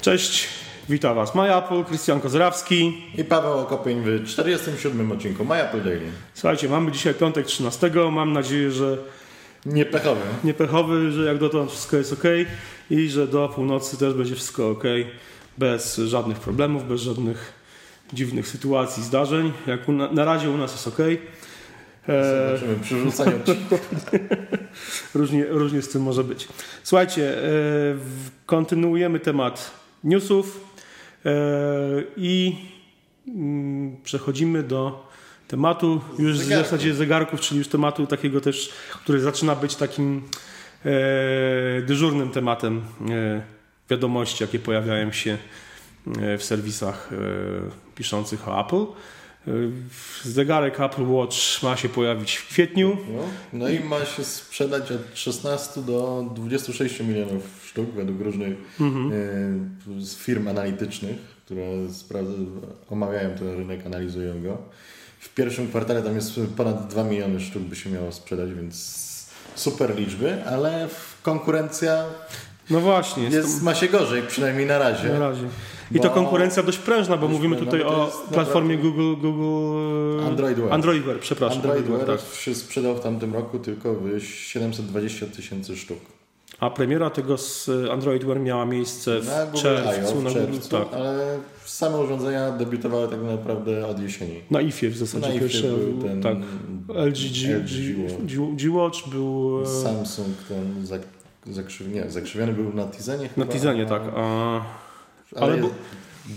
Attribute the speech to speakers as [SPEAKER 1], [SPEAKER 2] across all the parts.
[SPEAKER 1] Cześć, witam Was. Maja Apple, Krystian Kozrawski.
[SPEAKER 2] I Paweł Okopień w 47 odcinku Maja Daily.
[SPEAKER 1] Słuchajcie, mamy dzisiaj piątek 13. Mam nadzieję, że
[SPEAKER 2] Nie pechowy.
[SPEAKER 1] nie pechowy, że jak dotąd wszystko jest ok i że do północy też będzie wszystko ok. Bez żadnych problemów, bez żadnych dziwnych sytuacji, zdarzeń. Jak u na, na razie u nas jest ok. E,
[SPEAKER 2] Zobaczymy przy rzucaniu odcinka.
[SPEAKER 1] różnie, różnie z tym może być. Słuchajcie, e, w- kontynuujemy temat newsów e, i mm, przechodzimy do tematu już w
[SPEAKER 2] Zegarków.
[SPEAKER 1] zasadzie zegarków, czyli już tematu takiego też, który zaczyna być takim e, dyżurnym tematem e, wiadomości, jakie pojawiają się e, w serwisach e, piszących o Apple. E, Zegarek Apple Watch ma się pojawić w kwietniu.
[SPEAKER 2] No. no i ma się sprzedać od 16 do 26 milionów sztuk według różnych e, z firm analitycznych, które sprawdza- omawiają ten rynek, analizują go. W pierwszym kwartale tam jest ponad 2 miliony sztuk by się miało sprzedać, więc super liczby, ale w- konkurencja
[SPEAKER 1] No właśnie, jest
[SPEAKER 2] jest, ma się gorzej, przynajmniej na razie.
[SPEAKER 1] Na razie. I
[SPEAKER 2] Bo-
[SPEAKER 1] to konkurencja dość prężna, bo
[SPEAKER 2] Dość
[SPEAKER 1] mówimy
[SPEAKER 2] prężna,
[SPEAKER 1] tutaj
[SPEAKER 2] bo to
[SPEAKER 1] o
[SPEAKER 2] jest naprawdę-
[SPEAKER 1] platformie Google, Google
[SPEAKER 2] Android Wear.
[SPEAKER 1] Android Wear, przepraszam.
[SPEAKER 2] Android
[SPEAKER 1] Android
[SPEAKER 2] Wear
[SPEAKER 1] tak.
[SPEAKER 2] się sprzedał w tamtym roku tylko w 720 tysięcy sztuk.
[SPEAKER 1] tak. A premiera tego z y, Android Wear miała miejsce w
[SPEAKER 2] Na Google
[SPEAKER 1] czerwcu,
[SPEAKER 2] I.O.
[SPEAKER 1] na Google,
[SPEAKER 2] w czerwcu,
[SPEAKER 1] tak.
[SPEAKER 2] ale same urządzenia debiutowały tak naprawdę od jesieni.
[SPEAKER 1] Na IFie w
[SPEAKER 2] Na
[SPEAKER 1] zasadzie
[SPEAKER 2] iPhone
[SPEAKER 1] pierwsze.
[SPEAKER 2] był ten
[SPEAKER 1] tak. LG G, G,
[SPEAKER 2] LG Watch.
[SPEAKER 1] G, Watch był e,
[SPEAKER 2] Samsung ten zak, zakrzyw, nie, zakrzywiony był na Tizenie
[SPEAKER 1] na
[SPEAKER 2] chyba,
[SPEAKER 1] Tizenie, tak. A,
[SPEAKER 2] Ale,
[SPEAKER 1] ale
[SPEAKER 2] ale
[SPEAKER 1] był-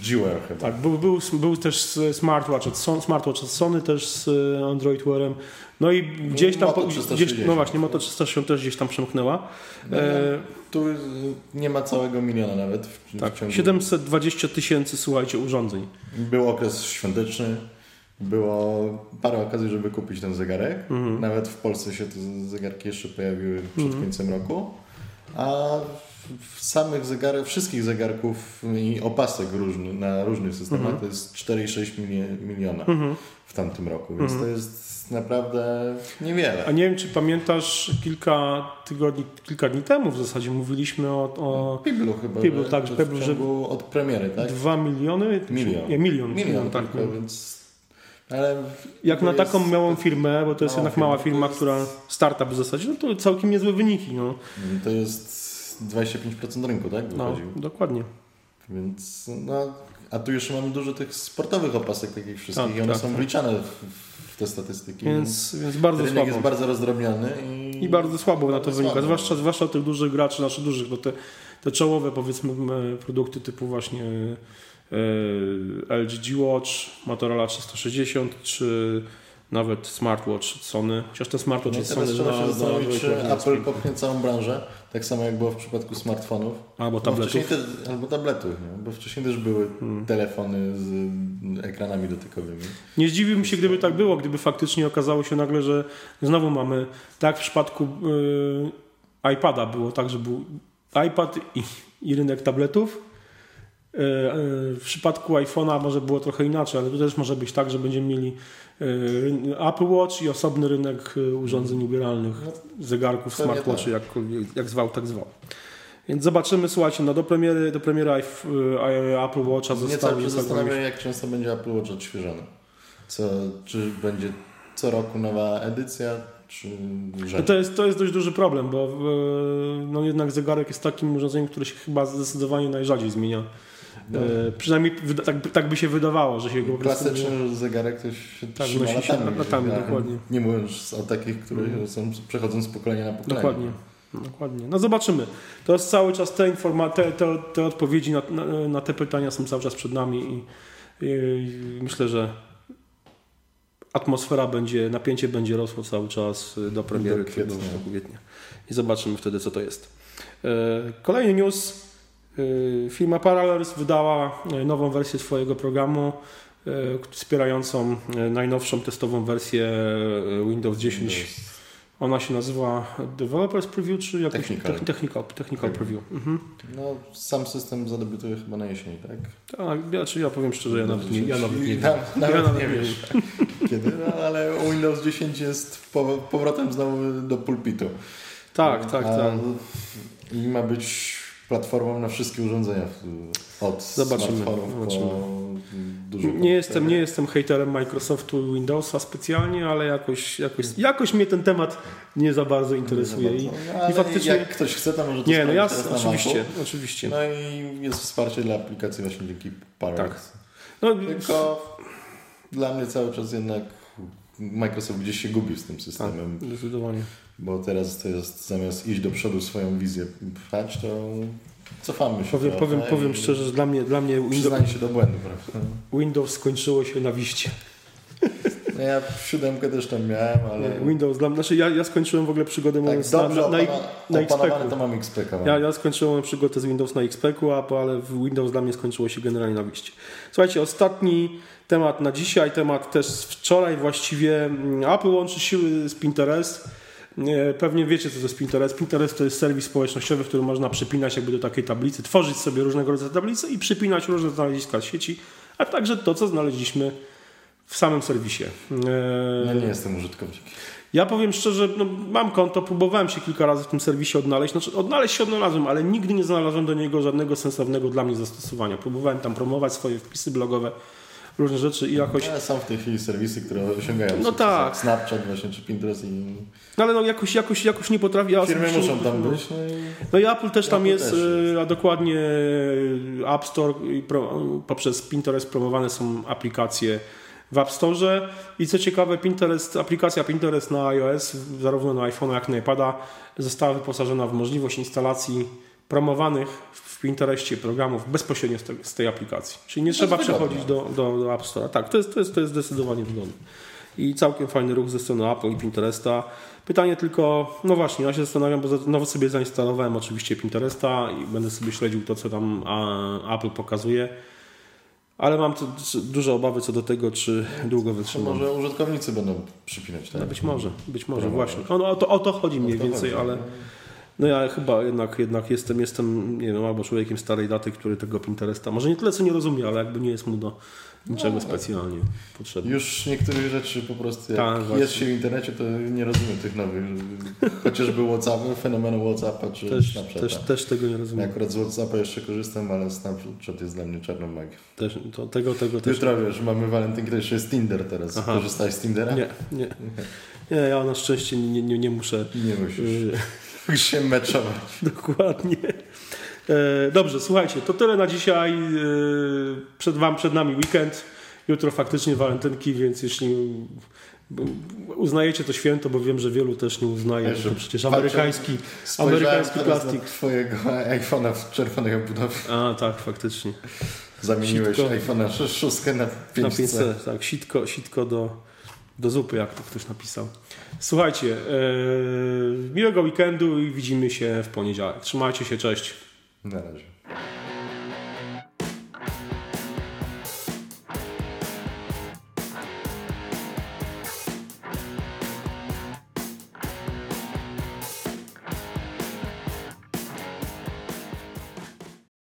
[SPEAKER 2] G-Wear chyba.
[SPEAKER 1] tak był, był, był też z smartwatch od, Son- smartwatch od Sony, też z e, Android Wearem. No i gdzieś tam...
[SPEAKER 2] Moto
[SPEAKER 1] po- Gdzieś,
[SPEAKER 2] 360.
[SPEAKER 1] no właśnie, Moto 360 też gdzieś tam przemknęła.
[SPEAKER 2] No,
[SPEAKER 1] E,
[SPEAKER 2] Tu y, nie ma całego miliona nawet. W,
[SPEAKER 1] Tak,
[SPEAKER 2] w ciągu,
[SPEAKER 1] 720 tysięcy, słuchajcie, urządzeń.
[SPEAKER 2] Był okres świąteczny, było parę okazji, żeby kupić ten zegarek.
[SPEAKER 1] Mhm.
[SPEAKER 2] Nawet w Polsce się te zegarki jeszcze pojawiły przed końcem roku. A w samych zegarach, wszystkich zegarków i opasek różny, na różnych systemach
[SPEAKER 1] Mhm.
[SPEAKER 2] to jest 4,6 mili- miliona w tamtym roku, więc to jest naprawdę niewiele.
[SPEAKER 1] Mhm. A nie wiem, czy pamiętasz, kilka tygodni, kilka dni temu w zasadzie mówiliśmy o, o
[SPEAKER 2] Piblu chyba.
[SPEAKER 1] Piblu,
[SPEAKER 2] że
[SPEAKER 1] tak,
[SPEAKER 2] to w
[SPEAKER 1] Piblu, że-
[SPEAKER 2] ciągu od premiery, tak?
[SPEAKER 1] 2 miliony? czy-
[SPEAKER 2] Milion.
[SPEAKER 1] Nie, milion.
[SPEAKER 2] Milion,
[SPEAKER 1] tak.
[SPEAKER 2] tylko, więc... Ale
[SPEAKER 1] Jak
[SPEAKER 2] to
[SPEAKER 1] na
[SPEAKER 2] jest-
[SPEAKER 1] taką małą firmę, bo to jest
[SPEAKER 2] mała
[SPEAKER 1] jednak mała firma,
[SPEAKER 2] firma, to jest-
[SPEAKER 1] która startup w zasadzie, no to całkiem niezłe wyniki. No,
[SPEAKER 2] To jest 25% rynku, tak?
[SPEAKER 1] no
[SPEAKER 2] Wychodził.
[SPEAKER 1] dokładnie.
[SPEAKER 2] Mhm. Więc no, a tu jeszcze mamy dużo tych sportowych opasek takich wszystkich
[SPEAKER 1] Tak,
[SPEAKER 2] i one
[SPEAKER 1] tak,
[SPEAKER 2] są
[SPEAKER 1] tak.
[SPEAKER 2] wliczane w, w te statystyki.
[SPEAKER 1] Więc, więc bardzo
[SPEAKER 2] rynek
[SPEAKER 1] słabo.
[SPEAKER 2] jest bardzo rozdrobniony i,
[SPEAKER 1] I bardzo słabo na to wynika,
[SPEAKER 2] słabo.
[SPEAKER 1] zwłaszcza, zwłaszcza tych dużych graczy, znaczy dużych, no te, te czołowe powiedzmy m, produkty typu właśnie e, LG G-Watch, Motorola 360 czy nawet smartwatch od Sony, chociaż ten
[SPEAKER 2] No
[SPEAKER 1] smartwatch
[SPEAKER 2] i
[SPEAKER 1] od
[SPEAKER 2] teraz
[SPEAKER 1] Sony
[SPEAKER 2] trzeba się zastanowić,
[SPEAKER 1] Android
[SPEAKER 2] czy
[SPEAKER 1] Wear nie jest
[SPEAKER 2] Apple kopnie całą branżę, tak samo jak było w przypadku smartfonów.
[SPEAKER 1] albo
[SPEAKER 2] No, wcześniej
[SPEAKER 1] tabletów. Hmm.
[SPEAKER 2] te, albo tabletów, nie? bo wcześniej też były telefony z ekranami dotykowymi.
[SPEAKER 1] Nie zdziwiłbym się, gdyby tak było, gdyby faktycznie okazało się nagle, że znowu mamy, tak w przypadku e, iPada było tak, że był iPad i, i rynek tabletów. E, e, W przypadku iPhone'a może było trochę inaczej, ale to też może być tak, że będziemy mieli e, ryn- Apple Watch i osobny rynek e, urządzeń ubieralnych, zegarków,
[SPEAKER 2] pewnie
[SPEAKER 1] smartwatchy, jakkolwiek, jak zwał, tak zwał. Więc zobaczymy, słuchajcie, no do premiery, do premiery iF- e, Apple Watcha
[SPEAKER 2] Mnie cały
[SPEAKER 1] zostało
[SPEAKER 2] czas
[SPEAKER 1] niecałe
[SPEAKER 2] zastanawia, jak często będzie Apple Watch odświeżony. Co, czy będzie co roku nowa edycja, czy
[SPEAKER 1] No
[SPEAKER 2] rzadziej?
[SPEAKER 1] to, jest, to jest dość duży problem, bo e, no jednak zegarek jest takim urządzeniem, które się chyba zdecydowanie najrzadziej zmienia.
[SPEAKER 2] No.
[SPEAKER 1] E, przynajmniej wyda- tak, tak by się wydawało, że się go po prostu
[SPEAKER 2] Klasyczny
[SPEAKER 1] nie-
[SPEAKER 2] zegarek to się
[SPEAKER 1] Tak,
[SPEAKER 2] trzyma
[SPEAKER 1] nosi się
[SPEAKER 2] latami.
[SPEAKER 1] latami,
[SPEAKER 2] A
[SPEAKER 1] dokładnie. Mhm.
[SPEAKER 2] Nie mówiąc o takich, które są, przechodzą z pokolenia na pokolenie.
[SPEAKER 1] Dokładnie. Dokładnie. No zobaczymy. To jest cały czas te informacje, te, te, te odpowiedzi na, na, na te pytania są cały czas przed nami i, i, i myślę, że atmosfera będzie, napięcie będzie rosło cały czas y, do premiery
[SPEAKER 2] Do kwietnia.
[SPEAKER 1] do kwietnia. I zobaczymy wtedy, co to jest. E, Kolejny news. E, Firma Parallels wydała e, nową wersję swojego programu e, wspierającą e, najnowszą testową wersję e, Windows 10 ona się nazywa Developers Preview, czy jakoś
[SPEAKER 2] Technical.
[SPEAKER 1] Tech- technical, technical Preview. Mhm.
[SPEAKER 2] No, sam system zadebiutuje chyba na jesieni, tak?
[SPEAKER 1] Tak, ja, czy ja powiem szczerze,
[SPEAKER 2] No,
[SPEAKER 1] ja nawet nie, ja nawet nie
[SPEAKER 2] I
[SPEAKER 1] wiem.
[SPEAKER 2] na- Nawet
[SPEAKER 1] Ja nawet
[SPEAKER 2] nie
[SPEAKER 1] nie
[SPEAKER 2] wiesz kiedy, no, ale Windows 10 jest po- powrotem znowu do pulpitu.
[SPEAKER 1] Tak, tak,
[SPEAKER 2] A
[SPEAKER 1] tak.
[SPEAKER 2] I ma być platformą na wszystkie urządzenia. Od
[SPEAKER 1] Zobaczymy,
[SPEAKER 2] smartfonów
[SPEAKER 1] zobaczymy.
[SPEAKER 2] po duże
[SPEAKER 1] Nie
[SPEAKER 2] komputery.
[SPEAKER 1] jestem, nie jestem hejterem Microsoftu i Windowsa specjalnie, ale jakoś, jakoś, jakoś mnie ten temat nie za bardzo interesuje. I,
[SPEAKER 2] no, Ale
[SPEAKER 1] i faktycznie.
[SPEAKER 2] jak ktoś chce, to tak może to
[SPEAKER 1] nie, no ja
[SPEAKER 2] sprawdzić teraz na
[SPEAKER 1] oczywiście,
[SPEAKER 2] Macu.
[SPEAKER 1] oczywiście.
[SPEAKER 2] No i jest wsparcie dla aplikacji właśnie dzięki Parallax.
[SPEAKER 1] Tak. No,
[SPEAKER 2] Tylko dla mnie cały czas jednak Microsoft gdzieś się gubi z tym
[SPEAKER 1] tak,
[SPEAKER 2] systemem,
[SPEAKER 1] zdecydowanie.
[SPEAKER 2] bo teraz to jest zamiast iść do przodu swoją wizję pchać, to cofamy się.
[SPEAKER 1] Powiem,
[SPEAKER 2] trochę
[SPEAKER 1] powiem,
[SPEAKER 2] i
[SPEAKER 1] powiem szczerze, że dla mnie, dla mnie Windows,
[SPEAKER 2] Przyznanie się do błędu, prawda?
[SPEAKER 1] Windows skończyło się na wiście.
[SPEAKER 2] No ja siódemkę też tam miałem, ale
[SPEAKER 1] Nie, Windows dla mnie, znaczy ja, ja skończyłem w ogóle przygodę
[SPEAKER 2] tak
[SPEAKER 1] mówiąc
[SPEAKER 2] dobrze
[SPEAKER 1] na, na, na,
[SPEAKER 2] opana-
[SPEAKER 1] na
[SPEAKER 2] opanowane to
[SPEAKER 1] XP.
[SPEAKER 2] mam XP.
[SPEAKER 1] Ja, ja skończyłem przygodę z Windows na XP, a po- ale w Windows dla mnie skończyło się generalnie na wyjście. Słuchajcie, ostatni temat na dzisiaj, temat też z wczoraj właściwie. Mm, Apple łączy siły z Pinterest. Nie, Pewnie wiecie, co to jest Pinterest. Pinterest to jest serwis społecznościowy, w którym można przypinać jakby do takiej tablicy, tworzyć sobie różnego rodzaju tablice i przypinać różne znaleziska z sieci, a także to, co znaleźliśmy w samym serwisie. Eee,
[SPEAKER 2] Ja no nie jestem użytkownikiem.
[SPEAKER 1] ja powiem szczerze, no, mam konto, próbowałem się kilka razy w tym serwisie odnaleźć. Znaczy, odnaleźć się odnalazłem, ale nigdy nie znalazłem do niego żadnego sensownego dla mnie zastosowania. Próbowałem tam promować swoje wpisy blogowe, różne rzeczy i jakoś.
[SPEAKER 2] Ale są w tej chwili serwisy, które osiągają
[SPEAKER 1] No
[SPEAKER 2] sukces,
[SPEAKER 1] tak.
[SPEAKER 2] jak Snapchat właśnie, czy Pinterest i
[SPEAKER 1] No, ale no, jakoś, jakoś, jakoś nie potrafię. ja
[SPEAKER 2] firmy
[SPEAKER 1] osobiście
[SPEAKER 2] muszą
[SPEAKER 1] nie-
[SPEAKER 2] tam być. No i...
[SPEAKER 1] No i Apple też tam
[SPEAKER 2] Apple
[SPEAKER 1] jest,
[SPEAKER 2] też
[SPEAKER 1] y, a dokładnie y, App Store i pro, poprzez Pinterest promowane są aplikacje w App Store i co ciekawe Pinterest, aplikacja Pinterest na iOS zarówno na iPhone jak i na iPada została wyposażona w możliwość instalacji promowanych w Pinterestie programów bezpośrednio z, te, z tej aplikacji. Czyli nie
[SPEAKER 2] To
[SPEAKER 1] trzeba
[SPEAKER 2] jest wygodne.
[SPEAKER 1] przechodzić do, do, do App Store. Tak, to jest, to, jest, to jest zdecydowanie wygodne. I całkiem fajny ruch ze strony Apple i Pinteresta. Pytanie tylko, no właśnie, ja się zastanawiam, bo znowu sobie zainstalowałem oczywiście Pinteresta i będę sobie śledził to, co tam a, Apple pokazuje. Ale mam tu duże obawy co do tego, czy długo
[SPEAKER 2] Czy
[SPEAKER 1] wytrzymam.
[SPEAKER 2] może użytkownicy będą przypinać, tak?
[SPEAKER 1] No być może, być może,
[SPEAKER 2] Próbować.
[SPEAKER 1] właśnie. O, no, o, to, o to chodzi mniej
[SPEAKER 2] O to
[SPEAKER 1] więcej,
[SPEAKER 2] chodzi,
[SPEAKER 1] ale
[SPEAKER 2] no.
[SPEAKER 1] no ja chyba jednak, jednak jestem, jestem, nie wiem, albo człowiekiem starej daty, który tego Pinteresta, może nie tyle co nie rozumie, ale jakby nie jest mu do
[SPEAKER 2] No,
[SPEAKER 1] niczego specjalnie potrzebny.
[SPEAKER 2] Już niektórych rzeczy po prostu, jak
[SPEAKER 1] Tak,
[SPEAKER 2] jest
[SPEAKER 1] właśnie.
[SPEAKER 2] się w internecie, to nie rozumiem tych nowych. Chociażby Whatsapp, fenomenu Whatsappa czy
[SPEAKER 1] Też,
[SPEAKER 2] Snapchata.
[SPEAKER 1] też, też tego nie
[SPEAKER 2] Ja
[SPEAKER 1] rozumiem.
[SPEAKER 2] akurat z Whatsappa jeszcze korzystam, ale Snapchat jest dla mnie czarną magią.
[SPEAKER 1] Też, to, tego, tego też.
[SPEAKER 2] Jutro wiesz, mamy walentynki, to jeszcze jest Tinder teraz.
[SPEAKER 1] Aha.
[SPEAKER 2] Korzystałeś z Tindera?
[SPEAKER 1] Nie, nie. Nie, ja na szczęście nie, nie, nie muszę.
[SPEAKER 2] Nie musisz.
[SPEAKER 1] y,
[SPEAKER 2] Musisz się meczować.
[SPEAKER 1] Dokładnie. E, Dobrze, słuchajcie, to tyle na dzisiaj. E, Przed wam, przed nami weekend. Jutro faktycznie walentynki, więc jeśli uznajecie to święto, bo wiem, że wielu też nie uznaje, że to przecież amerykański,
[SPEAKER 2] Spojrzałem
[SPEAKER 1] amerykański
[SPEAKER 2] teraz na
[SPEAKER 1] plastik.
[SPEAKER 2] twojego iPhone'a w czerwonej obudowie.
[SPEAKER 1] A tak, faktycznie.
[SPEAKER 2] Zamieniłeś
[SPEAKER 1] Sitko.
[SPEAKER 2] iPhone'a 6 szóstkę na
[SPEAKER 1] Na
[SPEAKER 2] 500.
[SPEAKER 1] 500, tak, sitko, sitko do, do zupy, jak to ktoś napisał. Słuchajcie, e, miłego weekendu i widzimy się w poniedziałek. Trzymajcie się, cześć.
[SPEAKER 2] Na razie.